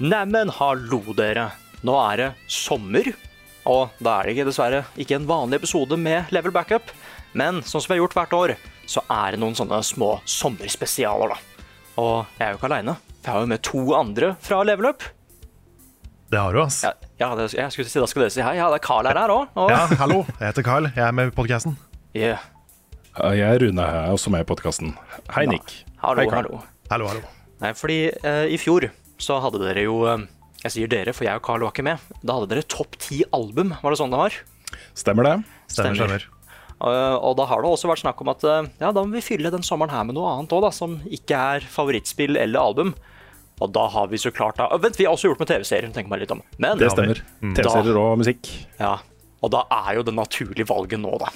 Neimen, hallo dere. Nå er det sommer. Og da er det ikke, dessverre ikke en vanlig episode med Level Backup. Men sånn som vi har gjort hvert år, så er det noen sånne små sommerspesialer, da. Og jeg er jo ikke aleine. Jeg har jo med to andre fra Level Up. Det har du, ass. Ja, ja det, jeg skulle si, da skal dere si hei. Ja, det er Carl her her òg. Og Ja, hallo. Jeg heter Carl. Jeg er med i podkasten. Yeah. Ja, Jeg er Rune, jeg er også med i podkasten. Hei, Nick. hallo, Hei, Carl. hallo. Hallo, hallo. Nei, fordi eh, i fjor så hadde dere jo eh, Jeg sier dere, for jeg og Carl var ikke med. Da hadde dere topp ti album, var det sånn det var? Stemmer det? Stemmer, Stemmer. stemmer. Eh, Og da har det også vært snakk om at eh, ja, da må vi fylle den sommeren her med noe annet òg, da, som ikke er favorittspill eller album. Og da har vi så klart da, Å, Vent, vi har også gjort med TV-serien, tenker meg litt om. Men, Det stemmer. Mm. TV-serier og musikk. Ja, og da er jo det naturlige valget nå, da.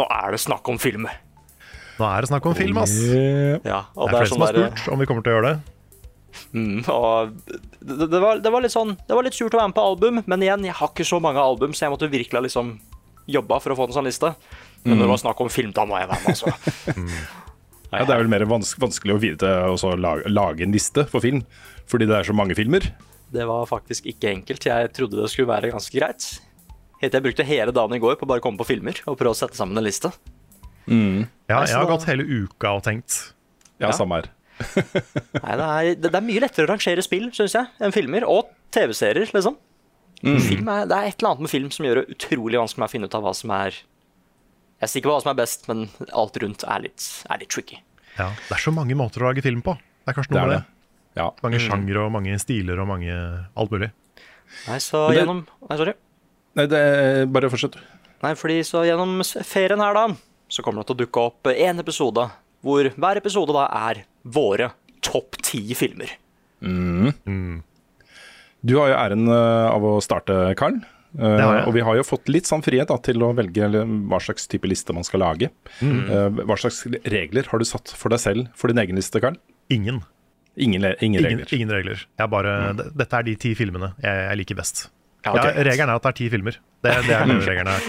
Nå er det snakk om film. Nå er det snakk om film, ass. Det Eh, Ja, og sånn er flere som har der- spurt om vi kommer til å gjøre det. Mm, og det, det, var, det var litt sånn Det var litt surt å være med på album, men igjen, jeg har ikke så mange album, så jeg måtte virkelig ha liksom jobba for å få en sånn liste. Men Mm. når det var snakk om film, da må jeg være med, altså. Ja, det er vel mer vans vanskelig å vite å så lage, lage en liste for film, fordi det er så mange filmer. Det var faktisk ikke enkelt. Jeg trodde det skulle være ganske greit. Helt til jeg brukte hele dagen i går på å bare komme på filmer og prøve å sette sammen en liste. Ja, Nei, så jeg har da- gått hele uka og tenkt. Ja, samme her. Nei, det er, det, det er mye lettere å rangere spill, syns jeg, enn filmer. Og TV-serier, liksom. Mm. Film er, det er et eller annet med film som gjør det utrolig vanskelig å finne ut av hva som er Jeg sier ikke hva som er best, men alt rundt er litt, er litt tricky. Ja, det er så mange måter å lage film på. Det er kanskje Det noe er med det. det. Ja. Mange sjangere og mange stiler og mange alt mulig. Nei, så Men det- gjennom Nei, sorry. Nei, det bare fortsett. Nei, fordi så gjennom s- ferien her da, så kommer det til å dukke opp en episode, hvor hver episode da er våre topp ti filmer. Du har jo æren eh, av å starte, Karl. Eh, har jeg. og vi har jo fått litt sånn frihet da, til å velge eller, hva slags type liste man skal lage. Mm. Eh, hva slags regler har du satt for deg selv for din egen liste, Karl? Ingen. Ingen, le- ingen Ingen, regler. ingen regler. Jeg bare, d- Dette er de ti filmene jeg, jeg liker best. Ja, Ja, ok. regelen er at det er ti filmer. Det, det er den regelen her.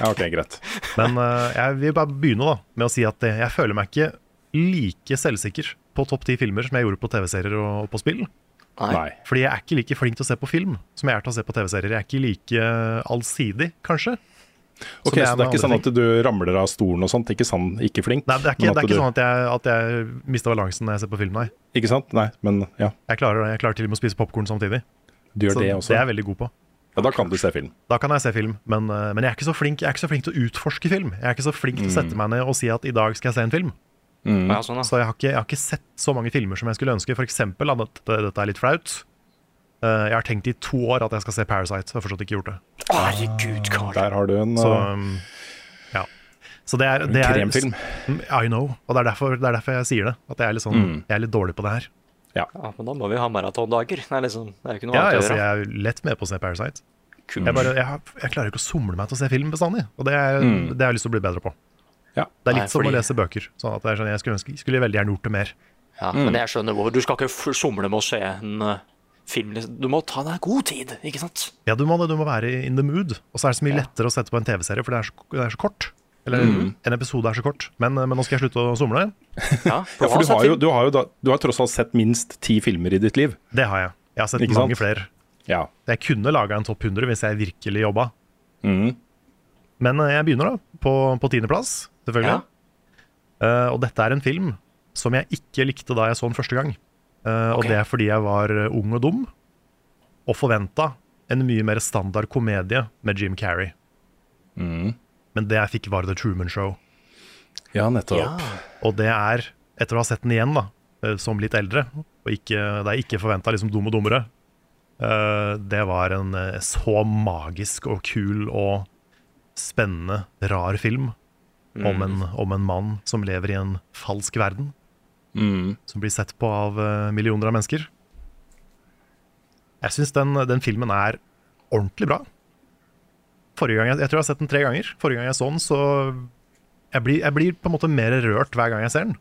Ja, ok, greit. Men eh, jeg vil bare begynne da med å si at det, jeg føler meg ikke like selvsikker på topp ti filmer som jeg gjorde på TV-serier og, og på spill. Nei. Fordi jeg er ikke like flink til å se på film som jeg er til å se på TV-serier. Jeg er ikke like eh, allsidig, kanskje. Ok, Som jeg er Så det med er ikke andre sånn at du ramler av stolen og sånt? Ikke sånn, ikke flink? Nei, det er ikke, men det er du, ikke sånn at jeg, at jeg mister balansen når jeg ser på film, nei. Ikke sant? Nei, men ja. Jeg klarer, det. jeg klarer til og med å spise popkorn samtidig. Du gjør Så det også. er jeg veldig god på. Ja, da kan du se film. Da kan jeg se film, men, eh, men jeg, er ikke så flink, jeg er ikke så flink til å utforske film. Jeg er ikke så flink Mm. til å sette meg ned og si at i dag skal jeg se en film. Ja, sånn da. Så Altså, jeg har, ikke, jeg har ikke sett så mange filmer som jeg skulle ønske. For eksempel, da, dette, dette er litt flaut. Eh, jeg har tenkt i to år at jeg skal se Parasite. Så jeg har fortsatt ikke gjort det. Herregud, Karl. Der har du en Så, uh, um, ja. så det er, det er kremfilm. Mm, I know. Og det er derfor, det er derfor jeg sier det. At jeg er litt, sånn, jeg er litt dårlig på det her. Ja, men da må vi ha maratondager. Nei, liksom, det er jo ikke noe Ja, annet jeg, å så gjøre. Altså, jeg er lett med på å se Parasite. Jeg, bare, jeg, har- jeg klarer ikke å somle meg til å se film bestandig. Og det er, det har jeg lyst til å bli bedre på. Ja. Det er Nei, litt som fordi- å lese bøker. Sånn at det er sånn, jeg skulle, ønske, skulle veldig gjerne gjort det mer. Ja, Men jeg skjønner hvorfor. Du skal ikke f- somle med å se en eh, film. liksom. Du må ta deg god tid, ikke sant? Ja, du må, det, du må være in the mood. Og så er det så mye lettere å sette på en TV-serie, for det er, så, det er så kort. Eller Mm. en episode er så kort. Men, eh, men nå skal jeg slutte å somle. Ja, Ja, for du sett har, jo, film. du, har jo da, du har tross alt sett minst ti filmer i ditt liv. Det har jeg. Jeg har sett Ikke mange sant? flere. Ja. Jeg kunne laga en topp 100 hvis jeg virkelig jobba. Mm. Men eh, jeg begynner, da. På, på tiendeplass, selvfølgelig. Ja. Eh, og dette er en film som jeg ikke likte da jeg så den første gang. Eh, Og Ok. det er fordi jeg var eh, ung og dum, og forventa en mye mer standard Mm. komedie med Jim Carrey. Men det jeg fikk, var The Truman Show. Ja, nettopp. Og det er, etter å ha sett den igjen da eh, som litt eldre, og ikke, det er ikke forventa liksom dum og dummere, eh, det var en eh, så magisk og kul og spennende, rar film om, en, om en mann som lever i en falsk verden. Som blir sett på av eh, millioner av mennesker. Jeg syns den, den filmen er ordentlig bra. Forrige gang, jeg, jeg tror jeg har sett den tre ganger. Forrige gang jeg så den, så jeg blir, jeg blir på en måte mer rørt hver gang jeg ser den.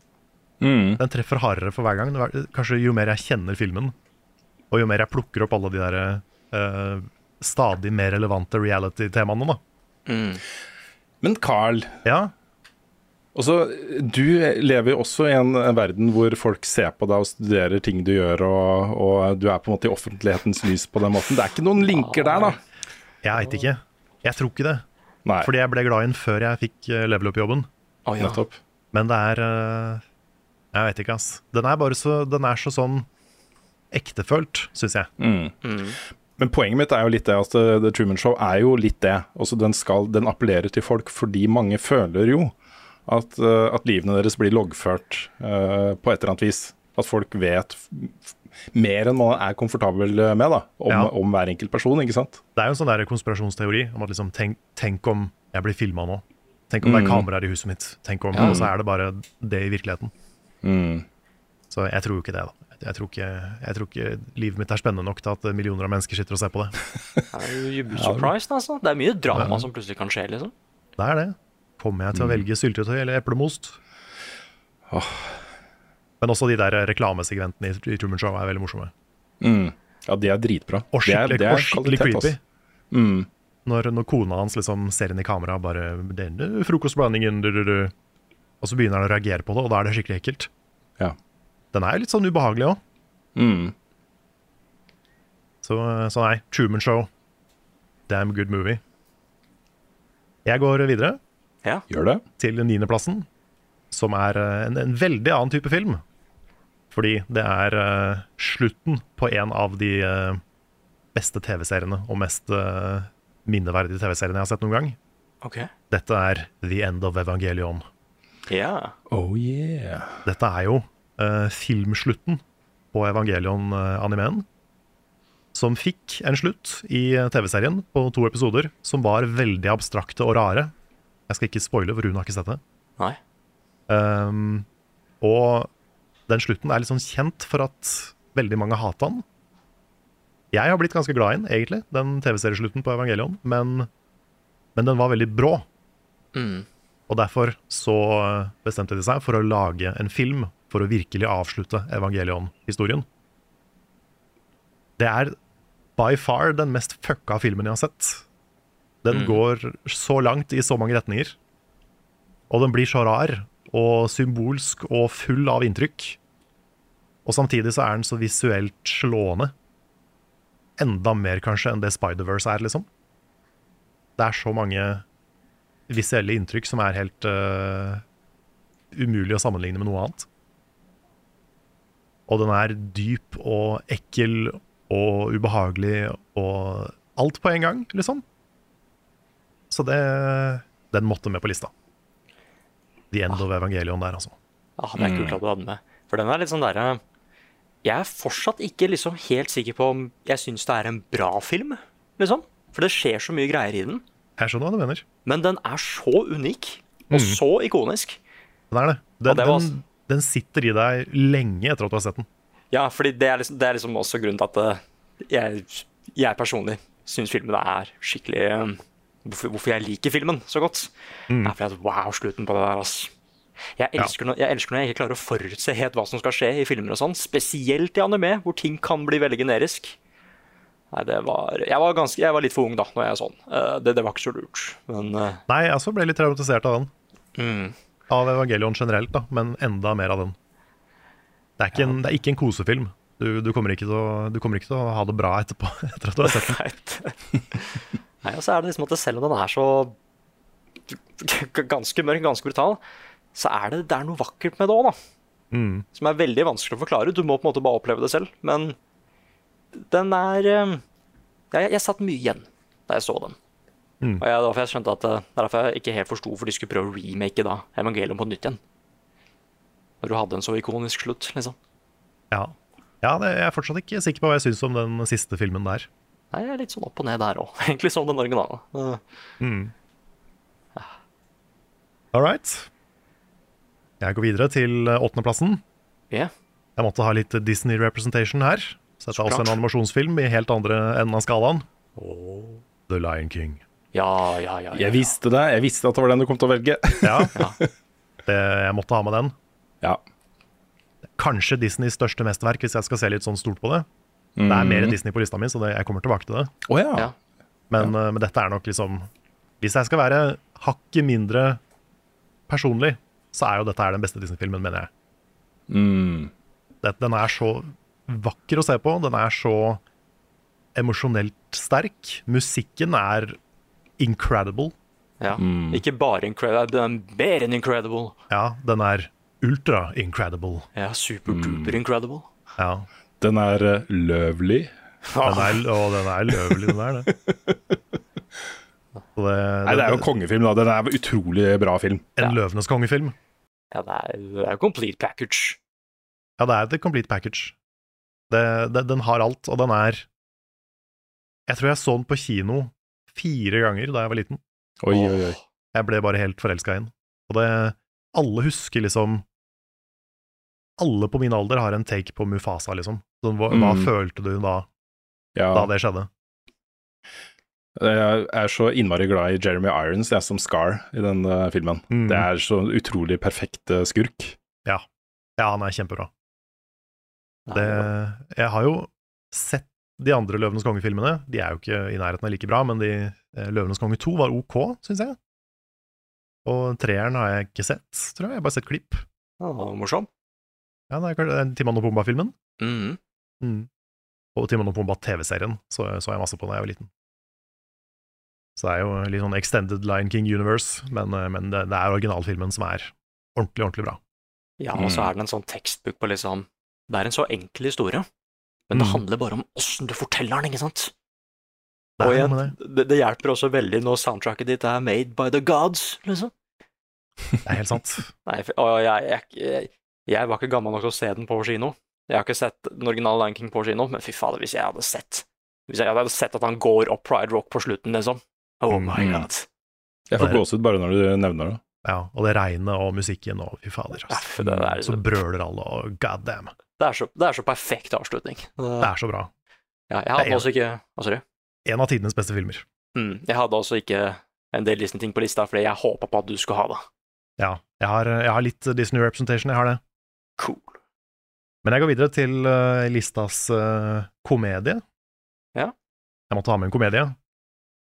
Den treffer hardere for hver gang. Det er- Kanskje jo mer jeg kjenner filmen, og jo mer jeg plukker opp alle de der eh, stadig mer relevante reality-temaene, da. Men Carl, Ja, også, du lever jo også i en verden hvor folk ser på deg og studerer ting du gjør, og, og du er på en måte i offentlighetens lys på den måten. Det er ikke noen linker der, da. jeg veit ikke. Jeg tror ikke det. Nei, Fordi jeg ble glad i den før jeg fikk eh, level up-jobben. Å, ja. nettopp. Men det er eh, Jeg veit ikke, ass. Den er bare så Den er så sånn ektefølt, syns jeg. Men poenget mitt er jo litt det at uh, The Truman Show er jo litt det. Altså, den, skal, den appellerer til folk fordi mange føler jo at, uh, at livene deres blir loggført uh, på et eller annet vis. At folk vet f- f- mer enn man er komfortabel eh, med da, om, Ja. om hver enkelt person, ikke sant? Det er jo en sånn der konspirasjonsteori om at liksom, tenk, tenk om jeg blir filma nå. Tenk om det er kameraer i huset mitt. Tenk om, Og så er det bare det i virkeligheten. Så jeg tror jo ikke det, da. Jeg tror ikke, jeg tror ikke livet mitt er spennende nok til at millioner av mennesker sitter og ser på det. You be surprised, altså. Det er mye drama som plutselig kan skje, liksom. Det er det. Kommer jeg til å velge syltetøy eller eplemost? Men også de der reklamesegmentene i, i Truman Show er veldig morsomme. Ja, de er dritbra. Og Det er- skikkelig, det er og skikkelig kvalitet, creepy. altså. Når, når kona hans liksom ser inn i kameraet og bare 'Denne frokostblandingen', du, du, du. Og så begynner han å reagere på det, og da er det skikkelig ekkelt. Ja. Den er jo litt sånn ubehagelig òg. Så, eh, så nei, Truman Show. Damn good movie. Jeg går videre Ja. Gjør det? til niendeplassen, som er eh, en, en veldig annen type film. Fordi det er eh, slutten på en av de eh, beste TV-seriene og mest eh, minneverdige TV-seriene jeg har sett noen gang. Ok. Dette er The End of Evangelion. Ja. Oh yeah. Dette er jo eh, filmslutten på Evangelion-animeen. Som fikk en slutt i eh, TV-serien på to episoder som var veldig abstrakte og rare. Jeg skal ikke spoile, for hun har ikke sett det. Nei. Um, og den slutten er litt sånn kjent for at veldig mange hata den. Jeg har blitt ganske glad i den, egentlig, den TV-serieslutten på Evangelion, men, men den var veldig brå. Og derfor så bestemte de seg for å lage en film for å virkelig avslutte Evangelion-historien. Det er by far den mest fucka filmen jeg har sett. Den går så langt i så mange retninger. Og den blir så rar og symbolsk og full av inntrykk. Og samtidig så er den så visuelt slående. Enda mer kanskje enn det Spider-Verse er, liksom. Det er så mange visuelle inntrykk som er helt eh, umulig å sammenligne med noe annet. Og den er dyp og ekkel og ubehagelig og alt på en gang, liksom. Så det Den måtte med på lista. The End of Evangelion der, altså. Ja, det er kult at du hadde den med. For den er litt sånn derre Jeg er fortsatt ikke liksom helt sikker på om jeg syns det er en bra film, liksom. For det skjer så mye greier i den. Jeg skjønner hva du mener. Men den er så unik, og så ikonisk. Den er det. Den, Ja, det var- den, den sitter i deg lenge etter at du har sett den. Ja, fordi det er liksom, det er liksom også grunnen til at eh, jeg, jeg personlig syns filmen er skikkelig eh, hvorfor, hvorfor jeg liker filmen så godt. Det er fordi at wow, slutten på det der, ass. Jeg elsker, når, jeg elsker når jeg ikke klarer å forutse helt hva som skal skje i filmer og sånn. Spesielt i anime, hvor ting kan bli veldig generisk. Nei, det var Jeg var, ganske, jeg var litt for ung da når jeg så den. Eh, det, det var ikke så lurt. Men eh, Nei, jeg også ble litt traumatisert av den. Mm. Av Evangelion generelt, da, men enda mer av den. Det er ikke, en, det er ikke en kosefilm. Du, du, kommer ikke til å, du kommer ikke til å ha det bra etterpå. etter at du har sett den. Nei, Nei, og så er det liksom at det- selv om den er så g- ganske mørk, ganske brutal, så er det, det er noe vakkert med det òg, da. Som er veldig vanskelig å forklare. Du må på en måte bare oppleve det selv. Men den er eh, Jeg, jeg satt mye igjen da jeg så den. Og jeg, derfor jeg skjønte at eh, Det er derfor jeg ikke helt forsto hvorfor de skulle prøve å remake da Evangelion på nytt igjen. Når du hadde en så ikonisk slutt, liksom. Ja, ja det, jeg er fortsatt ikke sikker på hva jeg syns om den siste filmen der. Nei, jeg er litt sånn opp og ned der òg. Egentlig som den originale. Eh, All right. Jeg går videre til eh, åttendeplassen. Ja, Jeg måtte ha litt Disney representation her. Så dette er også klart. en animasjonsfilm i helt andre enden av skalaen. The Lion King. ja, ja. ja, ja. Jeg visste det, jeg visste at det var den du kom til å velge. Ja, det, jeg måtte ha med den. ja. Kanskje Disneys største mesterverk, hvis jeg skal se litt sånn stort på det. Det er mer Disney på lista mi, så det, jeg kommer tilbake til det. Å ja. Ja. Men, eh, men dette er nok liksom Hvis jeg skal være hakket mindre personlig, så er jo dette her den beste Disney-filmen, mener jeg. Mm. Det, den er så vakker å se på. Den er så emosjonelt sterk. Musikken er incredible. ja. Mm. Ikke bare incredible, men mer enn incredible. Ja, den er ultra-incredible. Ja, super-duper Mm. incredible. Ja. Den er eh, løvlig. Den er, og den er løvelig, den der, det. Så det, Nei, det er jo kongefilm, da. Den er utrolig bra film. en løvenes kongefilm. Ja, det er, det er jo complete package. Ja, det er the complete package. Det, det, den har alt, og den er Jeg tror jeg så den på kino fire ganger da jeg var liten. Oi, oi, oi. Jeg ble bare helt forelska i den. Og det Alle husker liksom Alle på min alder har en take på Mufasa, liksom. Sånn, hva, hva Mm. følte du da, Ja. da det skjedde? Jeg er så innmari glad i Jeremy Irons jeg, som Scar i den eh, filmen. Mm. Det er så utrolig perfekt eh, skurk. Ja, han er kjempebra. Nei, Det, jeg har jo sett de andre Løvenes konge-filmene. De er jo ikke i nærheten av like bra, men de, eh, Løvenes konge 2 var ok, syns jeg. Og treeren har jeg ikke sett, tror jeg. Jeg har bare sett klipp. Ja, det var morsom. Ja, det er klart, det er Timon og Pumba-filmen. Mhm. Og Timon og Pumba-TV-serien så, så jeg masse på da jeg var liten. Så det er jo litt sånn Extended Lion King Universe, men, eh, men det, det er originalfilmen som er ordentlig, ordentlig bra. Ja, og så Mm. er det en sånn tekstbok på liksom Det er en så enkel historie, men det Mm. handler bare om åssen du forteller den, ikke sant? Det Og er noe igjen, med det. det, det hjelper også veldig når soundtracket ditt er made by the gods, liksom. Det er helt sant. Nei, for, og jeg, jeg, jeg, jeg var ikke gammel nok til å se den på kino. Jeg har ikke sett den originale Lion King på kino, men fy fader, hvis jeg hadde sett Hvis jeg hadde sett at han går opp Pride Rock på slutten, liksom. Oh my Mm. god. Jeg får Det er- gåsehud bare når du nevner det. Ja, og det regnet og musikken og fy fader. Ja, ass. for det der- så brøler alle og god damn. Det er så, det er så perfekt avslutning. Det er så bra. Ja, jeg det er- hadde også ikke Hva sa du? En av tidenes beste filmer. Mm, jeg hadde også ikke en del Disney-ting på lista fordi jeg håpa på at du skulle ha det. Ja, jeg har, jeg har litt Disney representation, jeg har det. Cool. Men jeg går videre til eh, listas eh, komedie. Ja. Jeg måtte ha med en komedie,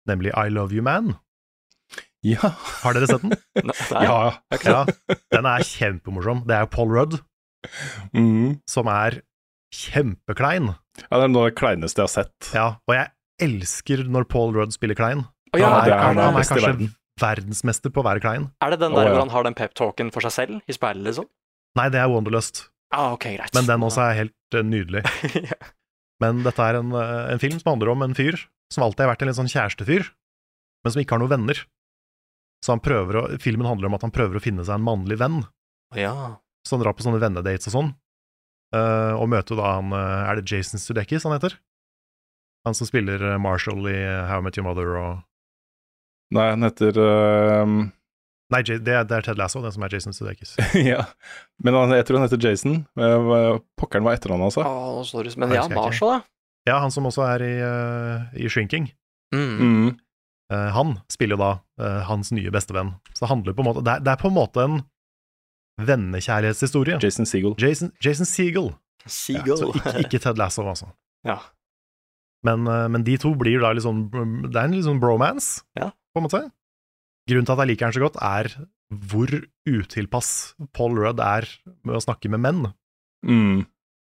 nemlig I Love You Man. Ja. Har dere sett den? Nei, nei, ja. ja. Den er kjempemorsom. Det er jo Paul Rudd, Mm. som er kjempeklein. ja. Det er noe av det kleineste jeg har sett. Ja, og jeg elsker når Paul Rudd spiller klein. Å ja, Ja, det er er, han, det, er, han er best i kanskje verden. verdensmester på å være klein. er det den Å, der ja. hvor han har den pep-talken for seg selv i speilet, liksom? Nei, det er Wonderlust. Ah, ok, greit. Men den også er helt eh, nydelig. ja. Men dette er en, eh, en film som handler om en fyr som alltid har vært en litt sånn kjærestefyr, men som ikke har noen venner. Så han prøver å, filmen handler om at han prøver å finne seg en mannlig venn, ja. så han drar på sånne vennedates og sånn. Eh, og møter da han eh, Er det Jason Sudeikis han heter? Han som spiller eh, Marshall i eh, How I Met Your Mother og Nei, den heter ehm, Nei, Ja- det, er- det er Ted Lasso, den som er Jason Sudeikis. Ja. Men han, jeg tror han heter Jason. Eh, hva- Pokkeren var etternavnet hans. Å, da. sorry. Men Nei, ja, husker jeg ikke. Marshall, ja. Ja, han som også er i, eh, i Shrinking. Mm. Mm. Eh, han spiller jo da eh, hans nye bestevenn. Så det handler på en måte Det er, det er på en måte en vennekjærlighetshistorie. Jason Seagull. Jason, Jason Seagull. Seagull. Så ikke, ikke Ted Lasso, altså. Ja. Men, eh, men de to blir da litt sånn Det er en litt sånn bromance, Ja. på en måte. Grunnen til at jeg liker han så godt, er hvor utilpass Paul Rudd er med å snakke med menn. Mm.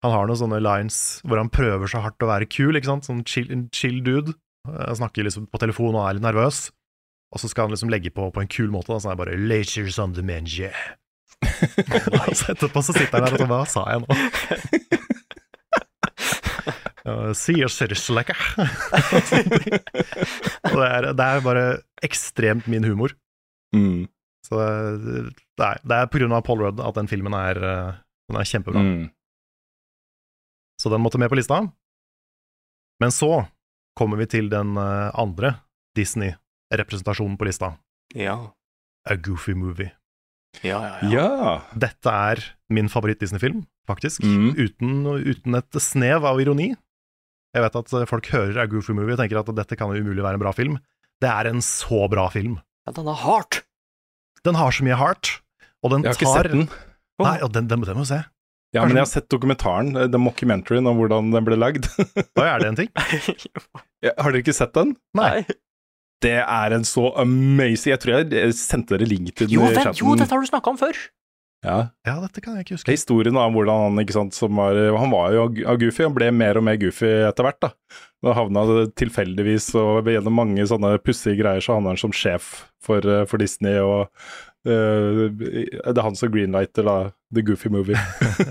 Han har noen sånne lines hvor han prøver så hardt å være kul, ikke sant? Sånn chill, en chill dude. Han snakker liksom på telefon og er litt nervøs. Og så skal han liksom legge på på en kul måte, da, sånn er bare «Later on the menge». Og så etterpå så sitter han der og sånn, hva sa jeg nå? Ja, sier Sirslekke. Og det er, det er bare ekstremt min humor. Mm. Så det, det er, det er på grunn av Paul Rudd at den filmen er, eh, den er kjempebra. Mm. Så den måtte med på lista. Men så kommer vi til den eh, andre Disney-representasjonen på lista, Ja. A Goofy Movie. Ja, ja, ja. Ja. Dette er min favoritt-Disney-film, faktisk. Mm. Uten, uten et snev av ironi. Jeg vet at eh, folk hører A Goofy Movie og tenker at dette kan jo umulig være en bra film. Det er en så bra film. ja den er hardt. Den har så mye heart, og den Jeg har ikke tar sett den. Nei, og den, den, den må du se. Ja, men jeg har sett dokumentaren, eh, the mockumentaryen om hvordan den ble lagd. Da er det en ting. Ja, har dere ikke sett den? Nei. Det er en så amazing Jeg tror jeg eh, sendte dere link til den Jo, i den, chatten. jo, dette har du snakka om før. ja. Ja, dette kan jeg ikke huske. Historien om hvordan han ikke sant, som var Han var jo av goofy, han ble mer og mer goofy etter hvert. da. Da havna det tilfeldigvis, og gjennom mange sånne pussige greier, så havna han som sjef for, eh, for Disney. og eh, det er han som greenlighter da, The Goofy Movie.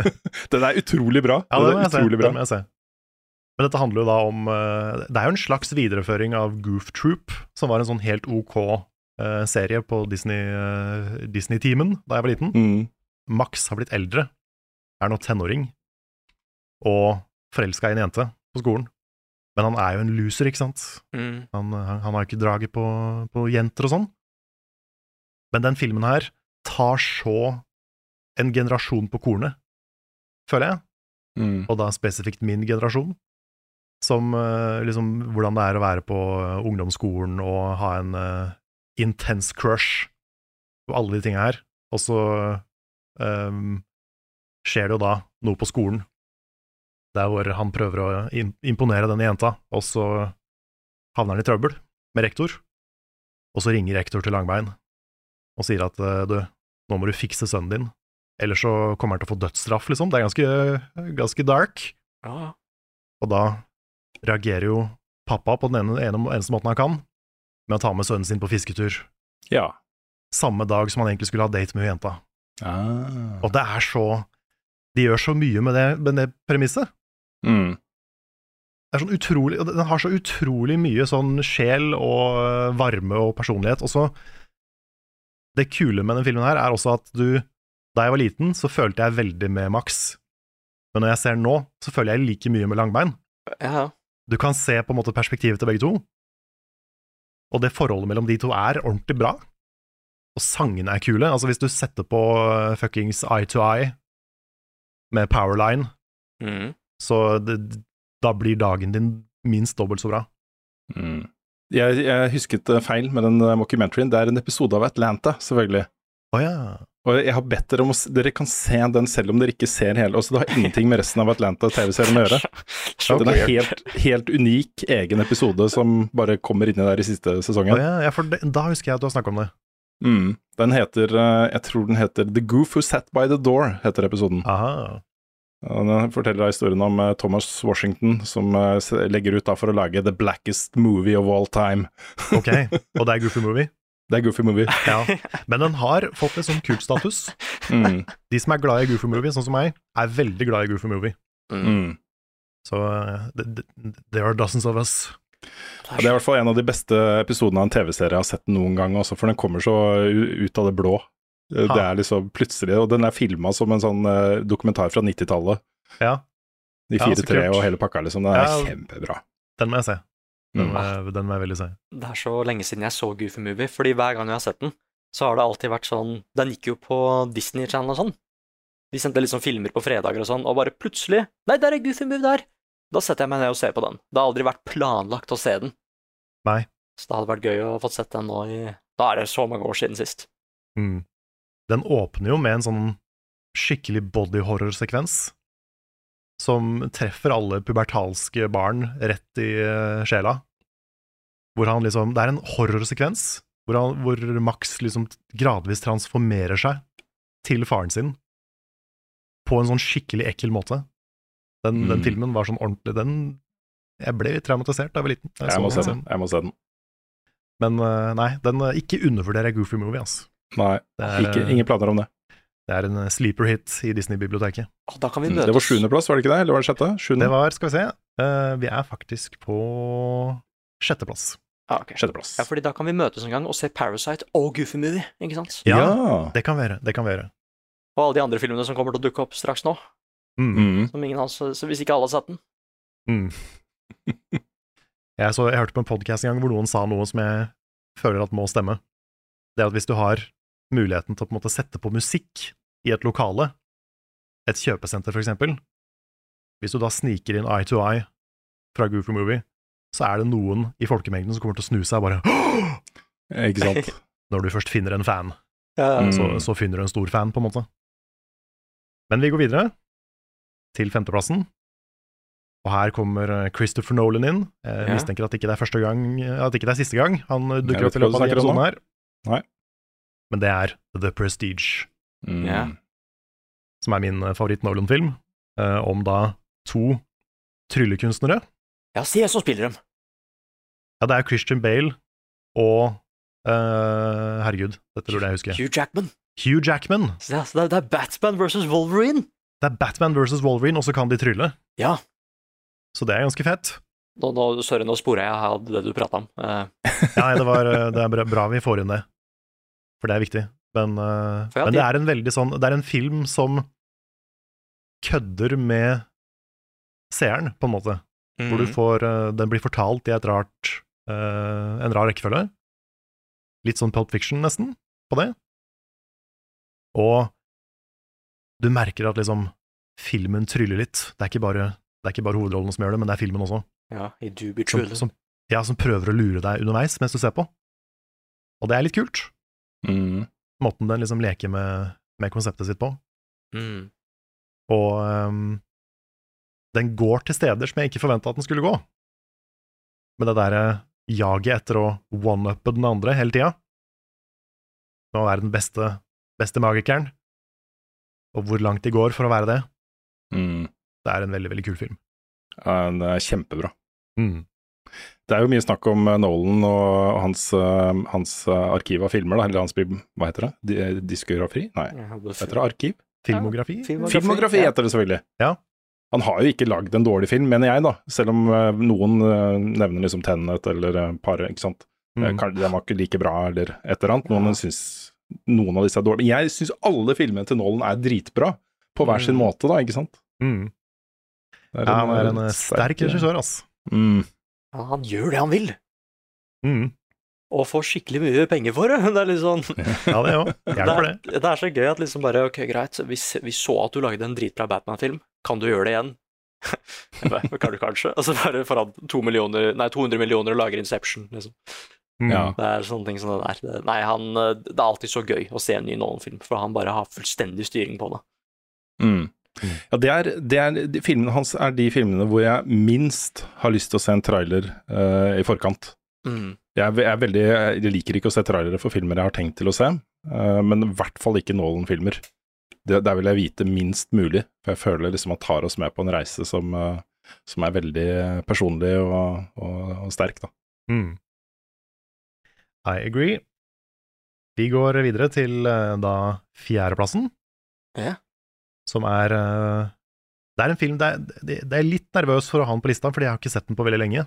den er utrolig bra. Ja, det må jeg se. utrolig Det må jeg se. Men dette handler jo da om eh, Det er jo en slags videreføring av Goof Troop, som var en sånn helt OK eh, serie på eh, Disney-teamen da jeg var liten. Mm. Max har blitt eldre, er nå tenåring, og forelska i en jente på skolen. Men han er jo en loser, ikke sant? Mm. Han, han, han har ikke draget på, på jenter og sånn. Men den filmen her tar så en generasjon på kornet, føler jeg Mm. og da spesifikt min generasjon, som eh, liksom hvordan det er å være på eh, ungdomsskolen og ha en eh, intens crush på alle de tinga her. Og så eh, skjer det jo da noe på skolen, der hvor han prøver å im- imponere denne jenta, og så havner han i trøbbel med rektor, og så ringer rektor til Langbein og sier at eh, du, nå må du fikse sønnen din, ellers så kommer han til å få dødsstraff, liksom. Det er ganske, ganske dark. Ja, ja. Og da reagerer jo pappa på den ene, ene, eneste måten han kan, med å ta med sønnen sin på fisketur. Ja. Samme dag som han egentlig skulle ha date med hun jenta. Ah. Og det er så De gjør så mye med det, med det premisset. Mm. Det er sånn utrolig, og den har så utrolig mye sånn sjel og øh, varme og personlighet. Og så Det kule med den filmen her er også at du Da jeg var liten, så følte jeg veldig med Max. Men når jeg ser den nå, så føler jeg like mye med Langbein. ja. Du kan se på en måte perspektivet til begge to. Og det forholdet mellom de to er ordentlig bra. Og sangene er kule. Altså, hvis du setter på øh, fuckings Eye to Eye med Powerline Mm. så det, da blir dagen din minst dobbelt så bra. Mm. Jeg, jeg husket eh, feil med den eh, mockumentaryen. Det er en episode av Atlanta, selvfølgelig. Å ja. Og jeg har bedt dere om å s- Dere kan se den selv om dere ikke ser hele. Også, det har ingenting med resten av Atlanta-TV-serien å gjøre. Den er helt, helt unik egen episode som bare kommer inni der i siste Å sesongen. ja, ja for det, da husker jeg at du har snakka om det. Mm. Den heter eh, Jeg tror den heter The Goof Who Sat By The Door, heter episoden. Aha. Og Den forteller da historien om eh, Thomas Washington som eh, s- legger ut da for å lage The Blackest Movie of All Time. Ok, og det er Goofy Movie. Det er Goofy Movie. Ja. Men den har fått litt sånn kultstatus. Mm. De som er glad i Goofy Movie, sånn som meg, er veldig glad i Goofy Movie. Mm. Så eh, th- th- there are dozens of us. Ja, Det er i hvert fall en av de beste episodene av en TV-serie jeg har sett noen gang, også, for den kommer så u- ut av det blå. Eh, Ha. Det er liksom plutselig, og den er filma som en sånn eh, dokumentar fra 90-tallet. Ja, De Ja, så fire tre kult. og hele pakka, liksom. Den er Ja. kjempebra. den må jeg se. Den Mm. må, jeg- den må jeg veldig se. Det er så lenge siden jeg så Goofy Movie, fordi hver gang jeg har sett den, så har det alltid vært sånn Den gikk jo på Disney Channel og sånn. De sendte liksom filmer på fredager og sånn, og bare plutselig Nei, der er Goofy Movie der! Da setter jeg meg ned og ser på den. Det har aldri vært planlagt å se den. Nei. Så det hadde vært gøy å få sett den nå i Da er det så mange år siden sist. Mm. Den åpner jo med en sånn skikkelig body horror-sekvens som treffer alle pubertalske barn rett i eh, sjela. Hvor han liksom Det er en horrorsekvens hvor, han- hvor Max liksom gradvis transformerer seg til faren sin på en sånn skikkelig ekkel måte. Den, den Mm. filmen var sånn ordentlig Den Jeg ble litt traumatisert da jeg var liten. da Jeg så må se den. den. Jeg må se den. Men eh, nei, den, eh, ikke undervurderer Goofy Movie, altså. Nei, Det er, ikke, eh, ingen planer om det. Det er en eh, sleeper hit i Disney-biblioteket. Å, da kan vi Mm. møtes. Det var sjuendeplass, var det ikke det? Eller var det sjette? Det Sjuende? var, skal vi se, Eh, vi er faktisk på sjetteplass. Ah, ok. Sjetteplass. Ja, fordi da kan vi møtes en gang og se Parasite og Goofy Movie, ikke sant? Ja. Det kan være. Det kan være. Og alle de andre filmene som kommer til å dukke opp straks nå. Mm. Mm. Som ingen av oss, så hvis ikke alle har sett den. Mm. Jeg, så, jeg hørte på en podkast en gang hvor noen sa noe som jeg føler at må stemme. Det er at hvis du har muligheten til å på en måte sette på musikk i et lokale, et kjøpesenter for eksempel, hvis du da sniker inn Eye to Eye fra Goofy Movie, så er det noen i folkemengden som kommer til å snu seg og bare «Åh!» Ikke sant. Når du først finner en fan, Mm. så, så finner du en stor fan, på en måte. Men vi går videre, til femteplassen. Og her kommer eh, Christopher Nolan inn. Jeg Ja. mistenker at ikke det er første gang At ikke det er siste gang han eh, Jeg dukker opp vet i ikke hva løpet av denne du snakker om episoden her. Nei. Men det er The Prestige, Mm. Ja. som er min eh, favoritt-Nolan-film, eh, om da to tryllekunstnere. Ja, se som spiller dem. Ja, det er Christian Bale og eh, Herregud, dette burde jeg huske. Hugh Jackman. Hugh Jackman. Så det, er- så det, er- det er Batman versus Wolverine. Det er Batman versus Wolverine, og så kan de trylle. Ja. Så det er ganske fett. Nå, nå, sorry, nå sporer jeg av det du prata om. Eh, Ja, nei, det, var, eh, det er bra- bra vi får inn det, for det er viktig. Men, eh, For ja, men de- det er en veldig sånn Det er en film som kødder med seeren, på en måte. Mm. Hvor Mhm. du får eh, Den blir fortalt i et rart eh, en rar rekkefølge. Litt sånn Pulp Fiction, nesten, på det. Og du merker at liksom filmen tryller litt. Det er ikke bare, det er ikke bare hovedrollen som gjør det, men det er filmen også ja, I do be som, true. som, ja, som prøver å lure deg underveis mens du ser på. Og det er litt kult, Mm. måten den liksom leker med, med konseptet sitt på. Mm. Og ehm, den går til steder som jeg ikke forventa at den skulle gå. Med det derre jaget etter å one-uppe den andre hele tida. Med å være den beste, beste magikeren. Og hvor langt de går for å være det. Mm. Det er en veldig, veldig kul film. Ja, Eh, det er kjempebra. Mm. Det er jo mye snakk om eh, Nolan og hans, eh, hans eh, arkiv av filmer, da, eller hans bib- Hva heter det? Di eh, diskografi? Nei, hva heter det? Arkiv? Filmografi? Filmografi. Filmografi Ja. heter det selvfølgelig. Ja. Han har jo ikke lagd en dårlig film, mener jeg, da. Selv om eh, noen eh, nevner liksom Tenet eller eh, Paret, ikke sant. Eh, Mm. kan- Den var ikke like bra, eller et eller annet. Noen syns noen av disse er dårlige. Jeg syns alle filmene til Nolan er dritbra, på hver sin Mm. måte, da, ikke sant. Mm. Ja, han er en eh, sterk regissør, ass. Mm. Han, han gjør det han vil, Mm. og får skikkelig mye penger for det. Det er litt sånn Ja, det òg. Hjelper det. Det, det er så gøy at liksom bare Ok, greit, vi, s- vi så at du lagde en dritbra Batman-film. Kan du gjøre det igjen? Jeg bare, "Men kan du kanskje? Altså bare foran to millioner, nei, 200 millioner og lager Inception, liksom. Mm. Ja. Det er sånne ting som det der. Nei, han eh, Det er alltid så gøy å se en ny Nolan-film, for han bare har fullstendig styring på det. Mm. Ja, det er, det er, de filmene hans er de filmene hvor jeg minst har lyst til å se en trailer eh, i forkant. Mm. Jeg, er ve- jeg, er veldig, jeg liker ikke å se trailere for filmer jeg har tenkt til å se, eh, men i hvert fall ikke Nolan-filmer. Det- Der vil jeg vite minst mulig, for jeg føler liksom at tar oss med på en reise som, eh, som er veldig personlig og, og, og sterk, da. Mm. I agree. Vi går videre til eh, da fjerdeplassen. Ja. Som er eh, Det er en film det er, det, det er litt nervøs for å ha den på lista, fordi jeg har ikke sett den på veldig lenge.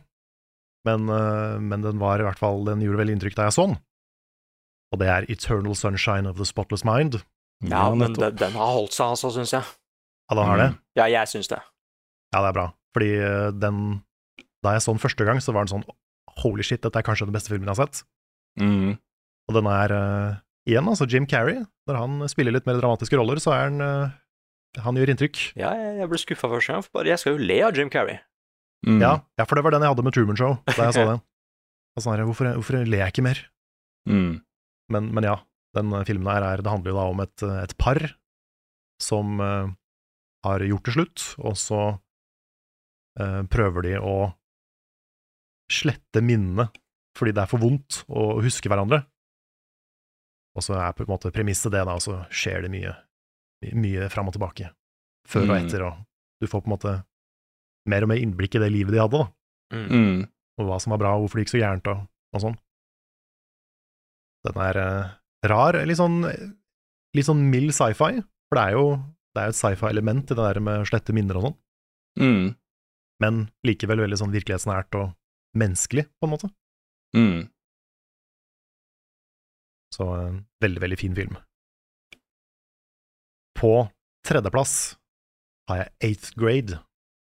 Men, eh, men den var i hvert fall Den gjorde veldig inntrykk da jeg så den. Og det er Eternal Sunshine of the Spotless Mind. Ja, men nettopp. den, den har holdt seg, altså, syns jeg. Ja, den har det. Ja, jeg syns det. Ja, det er bra. Fordi eh, den Da jeg så den første gang, så var den sånn Holy shit, dette er kanskje den beste filmen jeg har sett. Mm. Og den er eh, igjen, altså Jim Carrey. Når han spiller litt mer dramatiske roller, så er han eh, Han gjør inntrykk. Ja, jeg, jeg ble skuffa første gang. for Bare, jeg skal jo le av Jim Carrey. Mm. Ja, ja, for det var den jeg hadde med Truman Show da jeg så den. Og sånn her, hvorfor, hvorfor ler jeg ikke mer? Mm. Men, men ja, den eh, filmen her er, det handler jo da om et, eh, et par som eh, har gjort det slutt, og så eh, prøver de å slette minnene fordi det er for vondt å huske hverandre. Og så er på en måte premisset det, da, og så skjer det mye, mye fram og tilbake. Før og Mm. etter, og du får på en måte mer og mer innblikk i det livet de hadde, da Mm. og hva som var bra, og hvorfor det gikk så gærent, og, og sånn. Den er eh, rar, litt sånn, litt sånn mild sci-fi, for det er jo det er jo et sci-fi-element i det der med å slette minner og sånn. Mm. men likevel veldig sånn virkelighetsnært og menneskelig, på en måte. Mm. Så en veldig, veldig fin film. På tredjeplass har jeg Eighth Grade.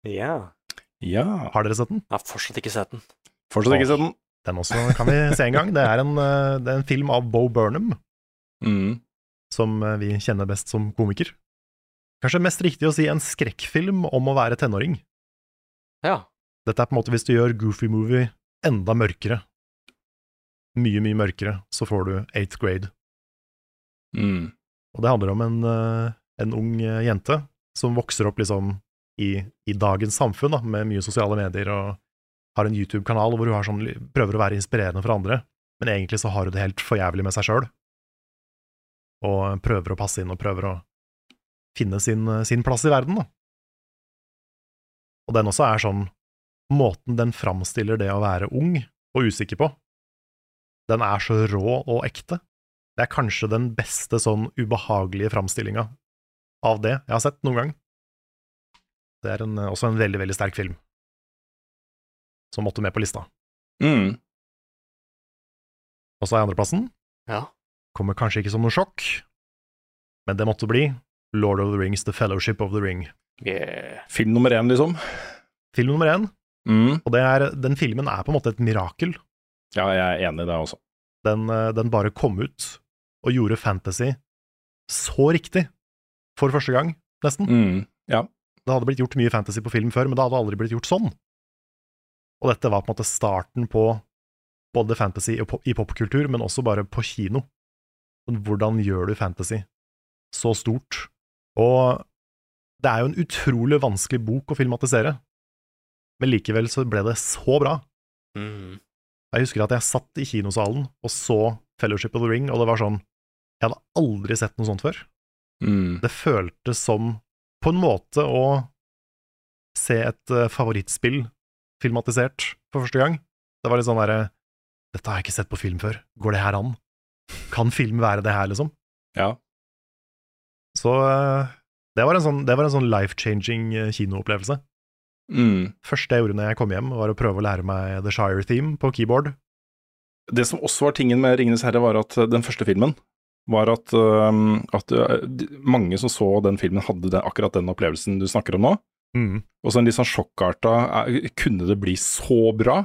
Ja. Ja. Har dere sett den? Jeg har fortsatt ikke sett den. Fortsatt ikke sett den. Den også kan vi se en gang. Det er en, eh, det er en film av Bo Burnham, Mm. som eh, vi kjenner best som komiker. Kanskje mest riktig å si en skrekkfilm om å være tenåring. Ja. Dette er på en måte hvis du gjør Goofy Movie enda mørkere, mye, mye mørkere, så får du Eighth Grade. Mm. Og det handler om en, eh, en ung eh, jente som vokser opp liksom i, i dagens samfunn, da, med mye sosiale medier, og har en YouTube-kanal hvor hun har sånn, li- prøver å være inspirerende for andre, men egentlig så har hun det helt for jævlig med seg sjøl, og prøver å passe inn og prøver å finne sin, eh, sin plass i verden, da. Og den også er sånn Måten den framstiller det å være ung og usikker på, den er så rå og ekte. Det er kanskje den beste sånn ubehagelige framstillinga av det jeg har sett noen gang. Det er en, eh, også en veldig, veldig sterk film, som måtte med på lista. Mm. Og så er andreplassen, Ja. kommer kanskje ikke som noe sjokk, men det måtte bli Lord of the Rings, The Fellowship of the Ring. Yeah. Film nummer én, liksom. Film nummer én, Mm. og det er, den filmen er på en måte et mirakel. Ja, jeg er enig i det også. den, eh, den bare kom ut og gjorde fantasy så riktig for første gang, nesten. Mm. Det hadde blitt gjort mye fantasy på film før, men det hadde aldri blitt gjort sånn. Og dette var på en måte starten på både fantasy og pop- i popkultur, men også bare på kino. Sånn, Hvordan gjør du fantasy så stort? Og det er jo en utrolig vanskelig bok å filmatisere, men likevel så ble det så bra. Mm. Jeg husker at jeg satt i kinosalen og så Fellowship of the Ring, og det var sånn Jeg hadde aldri sett noe sånt før. Mm. Det føltes som på en måte å se et eh, favorittspill filmatisert for første gang. Det var litt sånn derre Dette har jeg ikke sett på film før. Går det her an? Kan film være det her, liksom? Ja. Så eh, det var en sånn, det var en sånn life-changing eh, kinoopplevelse. Mm. Første jeg gjorde når jeg kom hjem, var å prøve å lære meg The Shire Theme på keyboard. Det som også var tingen med Ringenes herre, var at eh, den første filmen var at, øhm, at øh, de- mange som så den filmen, hadde den, akkurat den opplevelsen du snakker om nå. Og så en litt sånn sjokkarta eh, Kunne det bli så bra?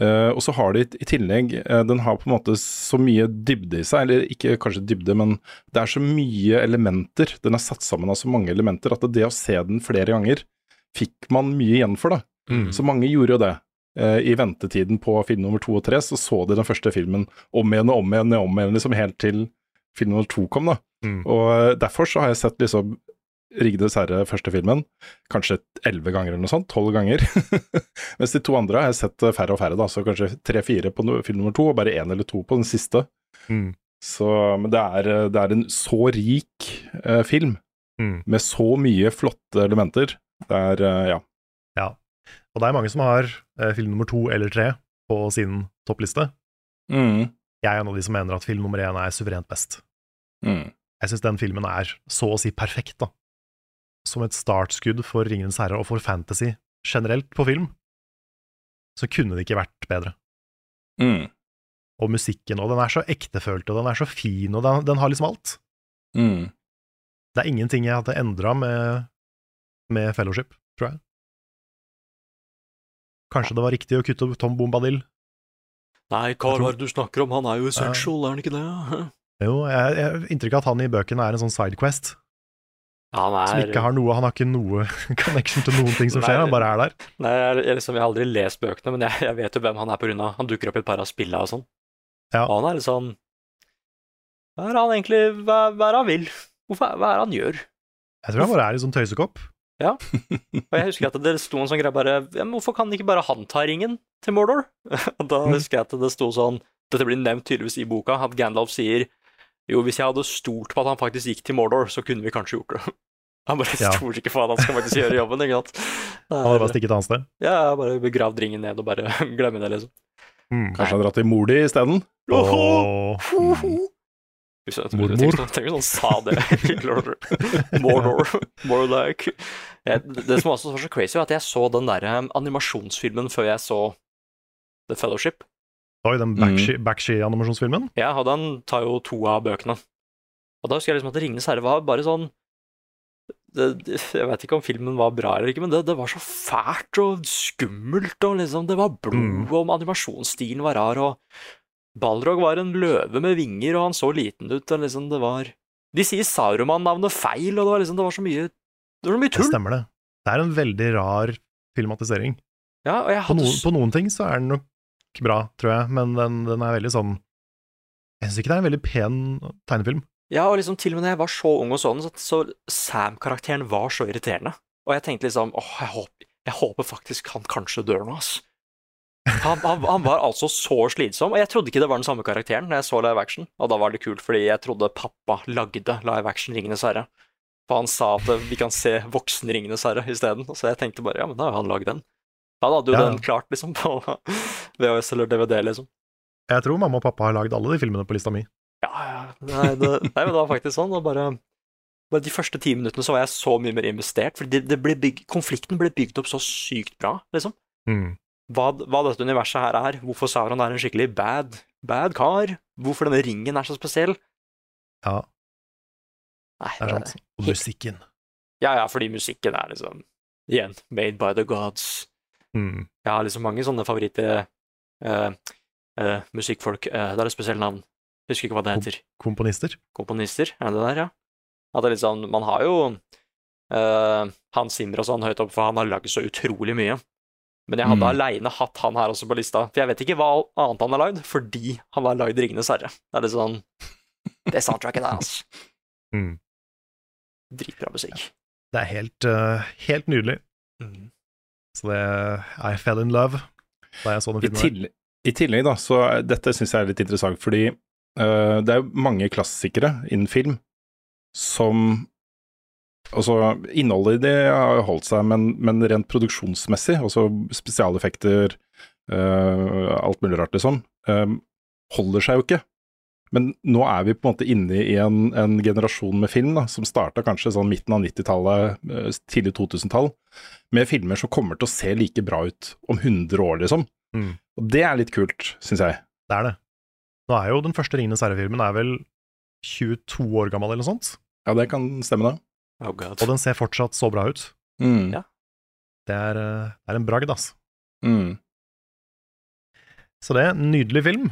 Eh, og så har de i tillegg eh, Den har på en måte så mye dybde i seg, eller ikke kanskje dybde, men det er så mye elementer. Den er satt sammen av så mange elementer at det å se den flere ganger fikk man mye igjen for, da. Så mange gjorde jo det. Eh, I ventetiden på film nummer to og tre så så de den første filmen om igjen og om igjen og om igjen, liksom helt til film nummer to kom, da. Mm. Og eh, derfor så har jeg sett liksom Rigdes herre, første filmen, kanskje elleve ganger eller noe sånt, tolv ganger. Mens de to andre har jeg sett eh, færre og færre, da, så kanskje tre-fire på no- film nummer to, og bare én eller to på den siste. Mm. Så, men det er, eh, det er en så rik eh, film, Mm. med så mye flotte elementer. Det er, eh, ja. Og det er mange som har eh, film nummer to eller tre på sin toppliste. Mm, Jeg er en av de som mener at film nummer én er suverent best. mm, Jeg syns den filmen er så å si perfekt, da. Som et startskudd for Ringenes herre og for fantasy generelt på film, så kunne det ikke vært bedre. mm, Og musikken, og den er så ektefølt, og den er så fin, og den, den har liksom alt. mm. Det er ingenting jeg hadde endra med, med Fellowship, tror jeg. Kanskje det var riktig å kutte Tom Bombadil? Nei, hva er det du snakker om? Han er jo essential, er han ikke det? Jo, jeg jeg har inntrykk av at han i bøkene er en sånn sidequest, Han er som ikke har noe Han har ikke noe connection til noen ting som skjer, han bare er der. Nei, jeg, jeg, liksom, jeg har aldri lest bøkene, men jeg, jeg vet jo hvem han er på grunn av. Han dukker opp i et par av spillene og sånn. Ja. Og han er litt sånn Hva er han egentlig Hva, hva er det han vil? Hvorfor, er- hva er det han gjør? Jeg tror han bare er i sånn tøysekopp. Og jeg husker at det sto en sånn greie bare ja, men Hvorfor kan ikke bare han ta ringen til Mordor? Og da Mm. husker jeg at det sto sånn Dette blir nevnt tydeligvis i boka, at Gandalf sier jo, hvis jeg hadde stolt på at han faktisk gikk til Mordor, så kunne vi kanskje gjort det. Han bare Ja. stoler ikke på at han skal faktisk gjøre jobben, ikke sant? Det Han hadde er- bare stikket et annet sted. Ja, jeg har bare begravd ringen ned og bare glemme det, liksom. Mm. Kanskje han har dratt til mor di isteden? Åh. Hvis jeg Mormor. tenker sånn- tenker sånn, sa det. Mordor. More like. Jeg, det som også var så crazy, var at jeg så den der eh, animasjonsfilmen før jeg så The Fellowship. Oi, den Bakshi- Bakshi-animasjonsfilmen. Ja, og den tar jo to av bøkene. Og da husker jeg liksom at Ringenes herre var bare sånn det, det, Jeg vet ikke om filmen var bra eller ikke, men det, det var så fælt og skummelt, og liksom Det var blod, Mm. og animasjonsstilen var rar, og Balrog var en løve med vinger, og han så liten ut, og liksom Det var De sier Sauroman-navnet feil, og det var liksom Det var så mye Det var så mye Det tull. stemmer, det. Det er en veldig rar filmatisering. Ja, og jeg På hadde noen, s- på noen ting så er den nok bra, tror jeg, men den, den er veldig sånn Jeg syns ikke det er en veldig pen tegnefilm. Ja, og liksom til og med da jeg var så ung og sånn, så, så Sam-karakteren var så irriterende. Og jeg tenkte liksom åh, jeg håper, jeg håper faktisk han kanskje dør nå, ass. Han, han, han var altså så slitsom, og jeg trodde ikke det var den samme karakteren når jeg så live action, og da var det kult, fordi jeg trodde pappa lagde live action Ringenes herre. For han sa at eh, vi kan se voksen Ringenes herre isteden, så jeg tenkte bare ja, men da har jo han lagd den. Han hadde jo Ja, ja. den klart, liksom, på VHS eller DVD, liksom. Jeg tror mamma og pappa har lagd alle de filmene på lista mi. Ja, ja. Nei, det, nei, men det var faktisk sånn. Og bare, bare de første ti minuttene så var jeg så mye mer investert. For det, det ble bygg, konflikten ble bygd opp så sykt bra, liksom. Mm. Hva, hva dette universet her er. Hvorfor Sauron er en skikkelig bad, bad kar. Hvorfor denne ringen er så spesiell. Ja, Nei, det er sånn. sant. Og musikken. Ja, ja, fordi musikken er liksom Igjen, made by the gods. Mm. Jeg har liksom mange sånne favoritter eh, eh, musikkfolk. Eh, det er et spesielt navn. Husker ikke hva det heter. Komponister. komponister, er det det der, ja? At det er litt sånn, man har jo eh, Hans Zimmer og sånn høyt oppe, for han har lagd så utrolig mye. Men jeg hadde Mm. alene aleine hatt han her også på lista, for jeg vet ikke hva annet han har lagd, fordi han har lagd 'Ringenes herre'. Det er litt sånn Det soundtracket der, altså. Mm. Dritbra musikk. Det er helt, eh, helt nydelig. Mm. Så det I fell in love da jeg så den I, filmen. der. tillegg, I tillegg, da, så er- dette syns jeg er litt interessant, fordi eh, det er jo mange klassikere innen film som Altså, innholdet i de har jo holdt seg, men, men rent produksjonsmessig, altså spesialeffekter, eh, alt mulig rart, liksom, eh, holder seg jo ikke. Men nå er vi på en måte inne i en, en generasjon med film da, som starta kanskje sånn midten av 90-tallet, eh, tidlig 2000-tall, med filmer som kommer til å se like bra ut om 100 år, liksom. Mm. Og det er litt kult, syns jeg. Det er det. Nå er jo den første Ringenes herre-filmen er vel 22 år gammel eller noe sånt, Ja, det kan stemme, det. Oh god. og den ser fortsatt så bra ut. Mm. Ja. Det er, eh, det er en bragd, ass. Mm. Så det er en nydelig film.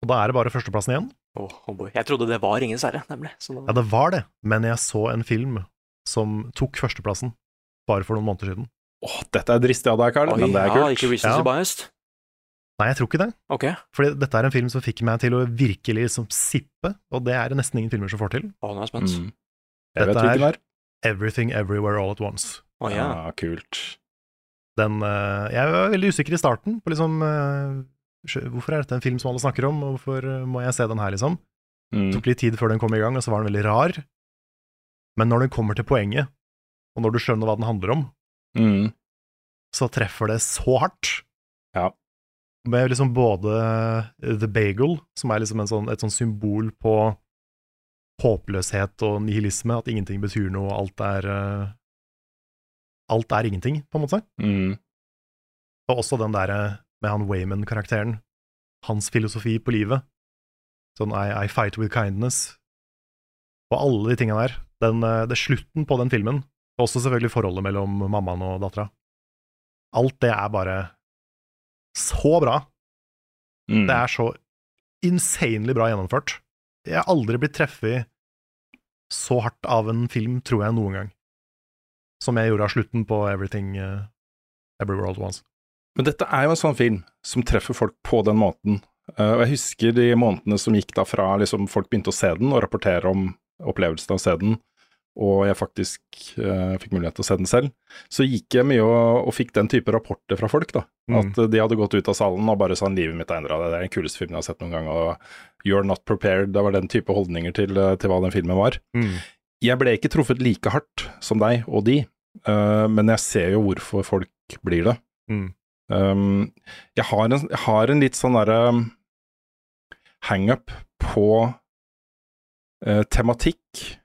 Og da er det bare førsteplassen igjen. Oh, oh boy. jeg trodde det var 'Ringenes herre', nemlig. Så Ja, da, det var det, men jeg så en film som tok førsteplassen bare for noen måneder siden. Åh, dette er dristig av deg, Karl, men det er ja, kult. ikke recency Ja. biased. Nei, jeg tror ikke det, Ok. for dette er en film som fikk meg til å virkelig liksom sippe, og det er det nesten ingen filmer som får til. Å, nå er jeg spent. Mm. Jeg vet Dette hvilken det er- er. Everything Everywhere All At Once. Å ja. Ja, kult. Den, eh, jeg var veldig usikker i starten på liksom eh, skjø- Hvorfor er dette en film som alle snakker om, og hvorfor eh, må jeg se den her, liksom? Det Mm. tok litt tid før den kom i gang, og så var den veldig rar. Men når den kommer til poenget, og når du skjønner hva den handler om, Mm. så treffer det så hardt. Ja. Med liksom både eh, The Bagel, som er liksom en sånn, et sånn symbol på håpløshet og nihilisme, at ingenting betyr noe, alt er eh, Alt er ingenting, på en måte. Mm. Og også den derre med han Wayman-karakteren, hans filosofi på livet. Sånn I, I fight with kindness. Og alle de tinga der. Den, eh, det er slutten på den filmen. Og også selvfølgelig forholdet mellom mammaen og dattera. Alt det er bare så bra. Mm. Det er så insanely bra gjennomført. Jeg har aldri blitt treffet så hardt av en film, tror jeg, noen gang. Som jeg gjorde av slutten på Everything eh, Everywhere All At Once. Men dette er jo en sånn film som treffer folk på den måten. Eh, og jeg husker de månedene som gikk da fra liksom, folk begynte å se den og rapportere om opplevelsen av å se den, og jeg faktisk eh, fikk mulighet til å se den selv, så gikk jeg mye og, og fikk den type rapporter fra folk. da. Mm. At eh, de hadde gått ut av salen og bare sånn 'Livet mitt er endra, det er den kuleste filmen jeg har sett noen gang', og 'You're not prepared'. Det var den type holdninger til, eh, til hva den filmen var. Jeg ble ikke truffet like hardt som deg og de, eh, men jeg ser jo hvorfor folk blir det. Mm. Um, jeg, har en, jeg har en litt sånn derre um, hangup på eh, tematikk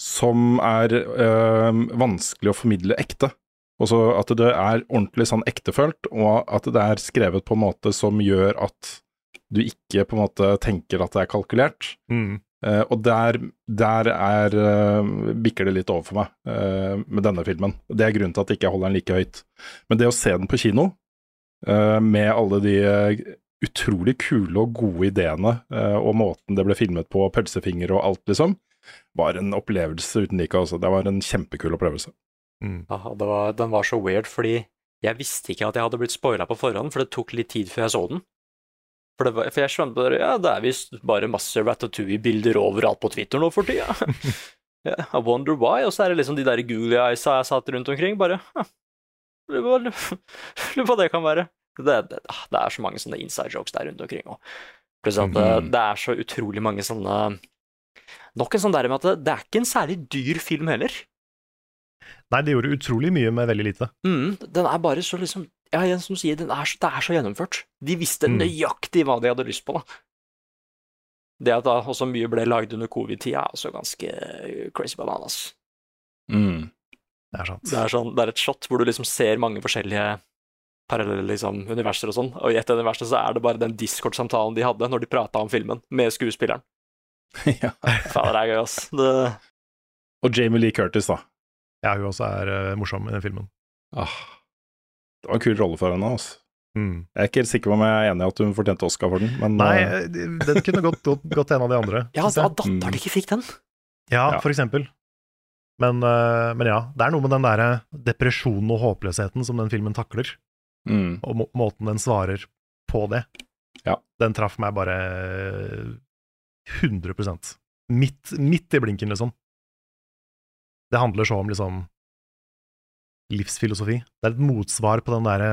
som er eh, vanskelig å formidle ekte. Også at det er ordentlig sånn ektefølt, og at det er skrevet på en måte som gjør at du ikke på en måte tenker at det er kalkulert. Mm. Eh, og der, der er, eh, bikker det litt over for meg eh, med denne filmen. Det er grunnen til at jeg ikke holder den like høyt. Men det å se den på kino, eh, med alle de eh, utrolig kule og gode ideene, eh, og måten det ble filmet på, pølsefinger og alt, liksom, var en opplevelse uten like. Altså. Det var en kjempekul opplevelse. Mm. Ja, det var, den var så weird, fordi jeg visste ikke at jeg hadde blitt spoila på forhånd, for det tok litt tid før jeg så den. For, det var, for jeg skjønte bare Ja, det er visst bare masse Ratatouille-bilder overalt på Twitter nå for tida. ja, I wonder why. Og så er det liksom de der googly eyesa jeg satt rundt omkring, bare «Hm, Lurer på- lurer på hva det kan være. Det, det, ah, det er så mange sånne inside jokes der rundt omkring òg. Pluss at eh, det, Mhm. det er så utrolig mange sånne Nok en sånn der med at det, det er ikke en særlig dyr film heller. Nei, det gjorde utrolig mye med veldig lite. Mm, den er bare så liksom Ja, igjen som du sier, den er så, det er så gjennomført. De visste Mm. nøyaktig hva de hadde lyst på, da. Det at da også mye ble lagd under covid-tida, er også ganske eh, crazy bananas. Mm. Det er sant. Det er, sånn, det er et shot hvor du liksom ser mange forskjellige parallelle liksom, universer og sånn, og i et av universene så er det bare den Discord-samtalen de hadde når de prata om filmen, med skuespilleren. ja. Fader, det er gøy, ass. Det, Og Jamie Lee Curtis, da. Ja, hun også er eh, morsom i den filmen. Ah. Det var en kul rolle for henne. Altså. Mm. Jeg er ikke helt sikker på om jeg er enig i at hun fortjente Oscar for den, men Nei, eh, eh, den kunne gått, gått, gått til en av de andre. ja, altså, synes jeg. Mm. at datteren ikke fikk den! Ja, Ja. for eksempel. Men, eh, men ja, det er noe med den der eh, depresjonen og håpløsheten som den filmen takler, mm. og må måten den svarer på det. Ja. Den traff meg bare 100 midt, midt i blinken, liksom. Det handler så om liksom livsfilosofi. Det er et motsvar på den derre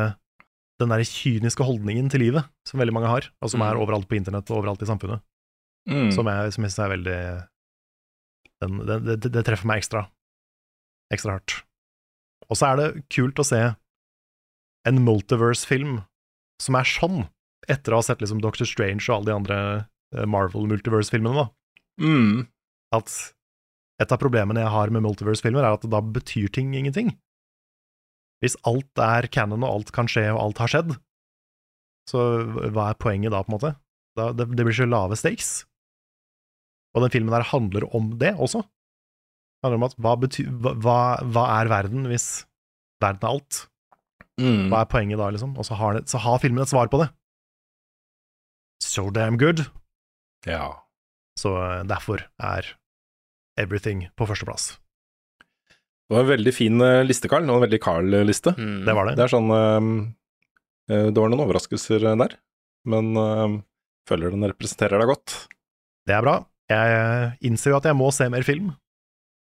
den der kyniske holdningen til livet som veldig mange har, og som er Mm. overalt på internett og overalt i samfunnet Mm. som jeg, som jeg synes er veldig den, den, det- det, det treffer meg ekstra. Ekstra hardt. Og så er det kult å se en multiverse-film som er sånn, etter å ha sett liksom Doctor Strange og alle de andre eh, Marvel-multiverse-filmene, da. Mm. At et av problemene jeg har med multiverse-filmer, er at da betyr ting ingenting. Hvis alt er canon, og alt kan skje, og alt har skjedd, så hva er poenget da, på en måte? Da, det, det blir så lave stakes. Og den filmen her handler om det også. Det handler om at hva, betyr, hva, hva- hva er verden hvis verden er alt? Mm. Hva er poenget da, liksom? Og så har, den- så har filmen et svar på det. So damn good. Ja. Så eh, derfor er everything på førsteplass. Det var en veldig fin eh, liste, Carl. Det var en veldig Carl-liste. Mm. Det var Det det. er sånn eh, eh, Det var noen overraskelser eh, der, men eh, føler den representerer deg godt. Det er bra. Jeg eh, innser jo at jeg må se mer film.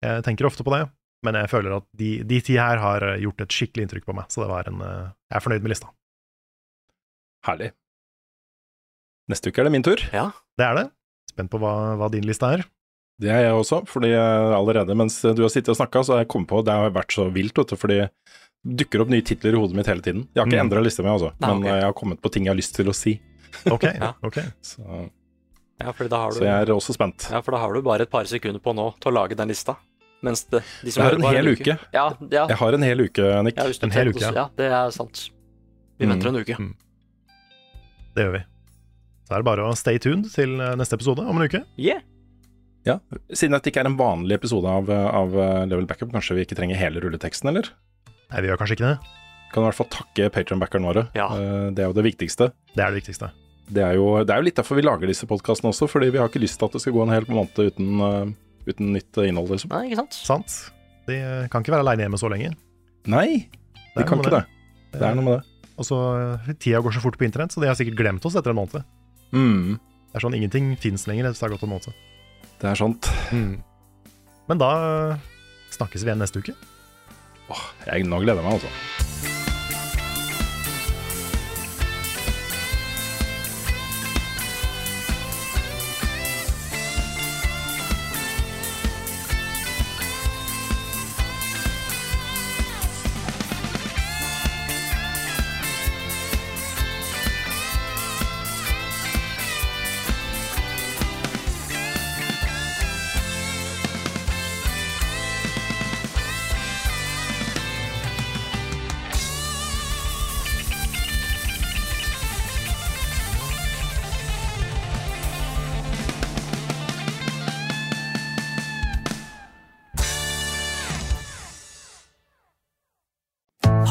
Jeg tenker ofte på det, men jeg føler at de, de ti her har eh, gjort et skikkelig inntrykk på meg, så det var en eh, Jeg er fornøyd med lista. Herlig. Neste uke er det min tur. Ja. Det er det. Spent på hva, hva din liste er. Det er jeg også, fordi eh, allerede mens du har sittet og snakka, så har jeg kommet på Det har vært så vilt, vet du, fordi det dukker opp nye titler i hodet mitt hele tiden. Jeg har ikke Mm. endra lista mi, altså, Nei, Ah, men ok. eh, jeg har kommet på ting jeg har lyst til å si. Ok, Ja. ok. Så, Ja, fordi da har du så jeg er også spent. Ja, for da har du bare et par sekunder på nå til å lage den lista. Mens det, de som Jeg har hører en på, har hel uke. Ja, ja, Jeg har en hel uke, Nick. ja, hvis du en hel tenker- uke, ja. ja, det er sant. Vi Mm. venter en uke. Det gjør vi. Så er det bare å stay tuned til eh, neste episode om en uke. Yeah. Siden dette ikke er en vanlig episode av, av eh, Level Backup, kanskje vi ikke trenger hele rulleteksten, eller? Nei, vi gjør kanskje ikke det. Kan i hvert fall takke patronbackerne våre. Ja. Eh, Det er jo det viktigste. Det er det viktigste. Det er jo, det er jo litt derfor vi lager disse podkastene også, fordi vi har ikke lyst til at det skal gå en hel måned uten, eh, uten nytt innhold, liksom. Nei, ikke sant? Sant? De eh, kan ikke være aleine hjemme så lenge. Nei, Det er vi kan noe ikke med det. Det er noe med det. Og så eh, Tida går så fort på internett, så de har sikkert glemt oss etter en måned. Mm, Det er sånn ingenting fins lenger hvis det har gått en måned. det er sant. Men da eh, snakkes vi igjen neste uke. Åh, jeg, nå gleder jeg meg, altså.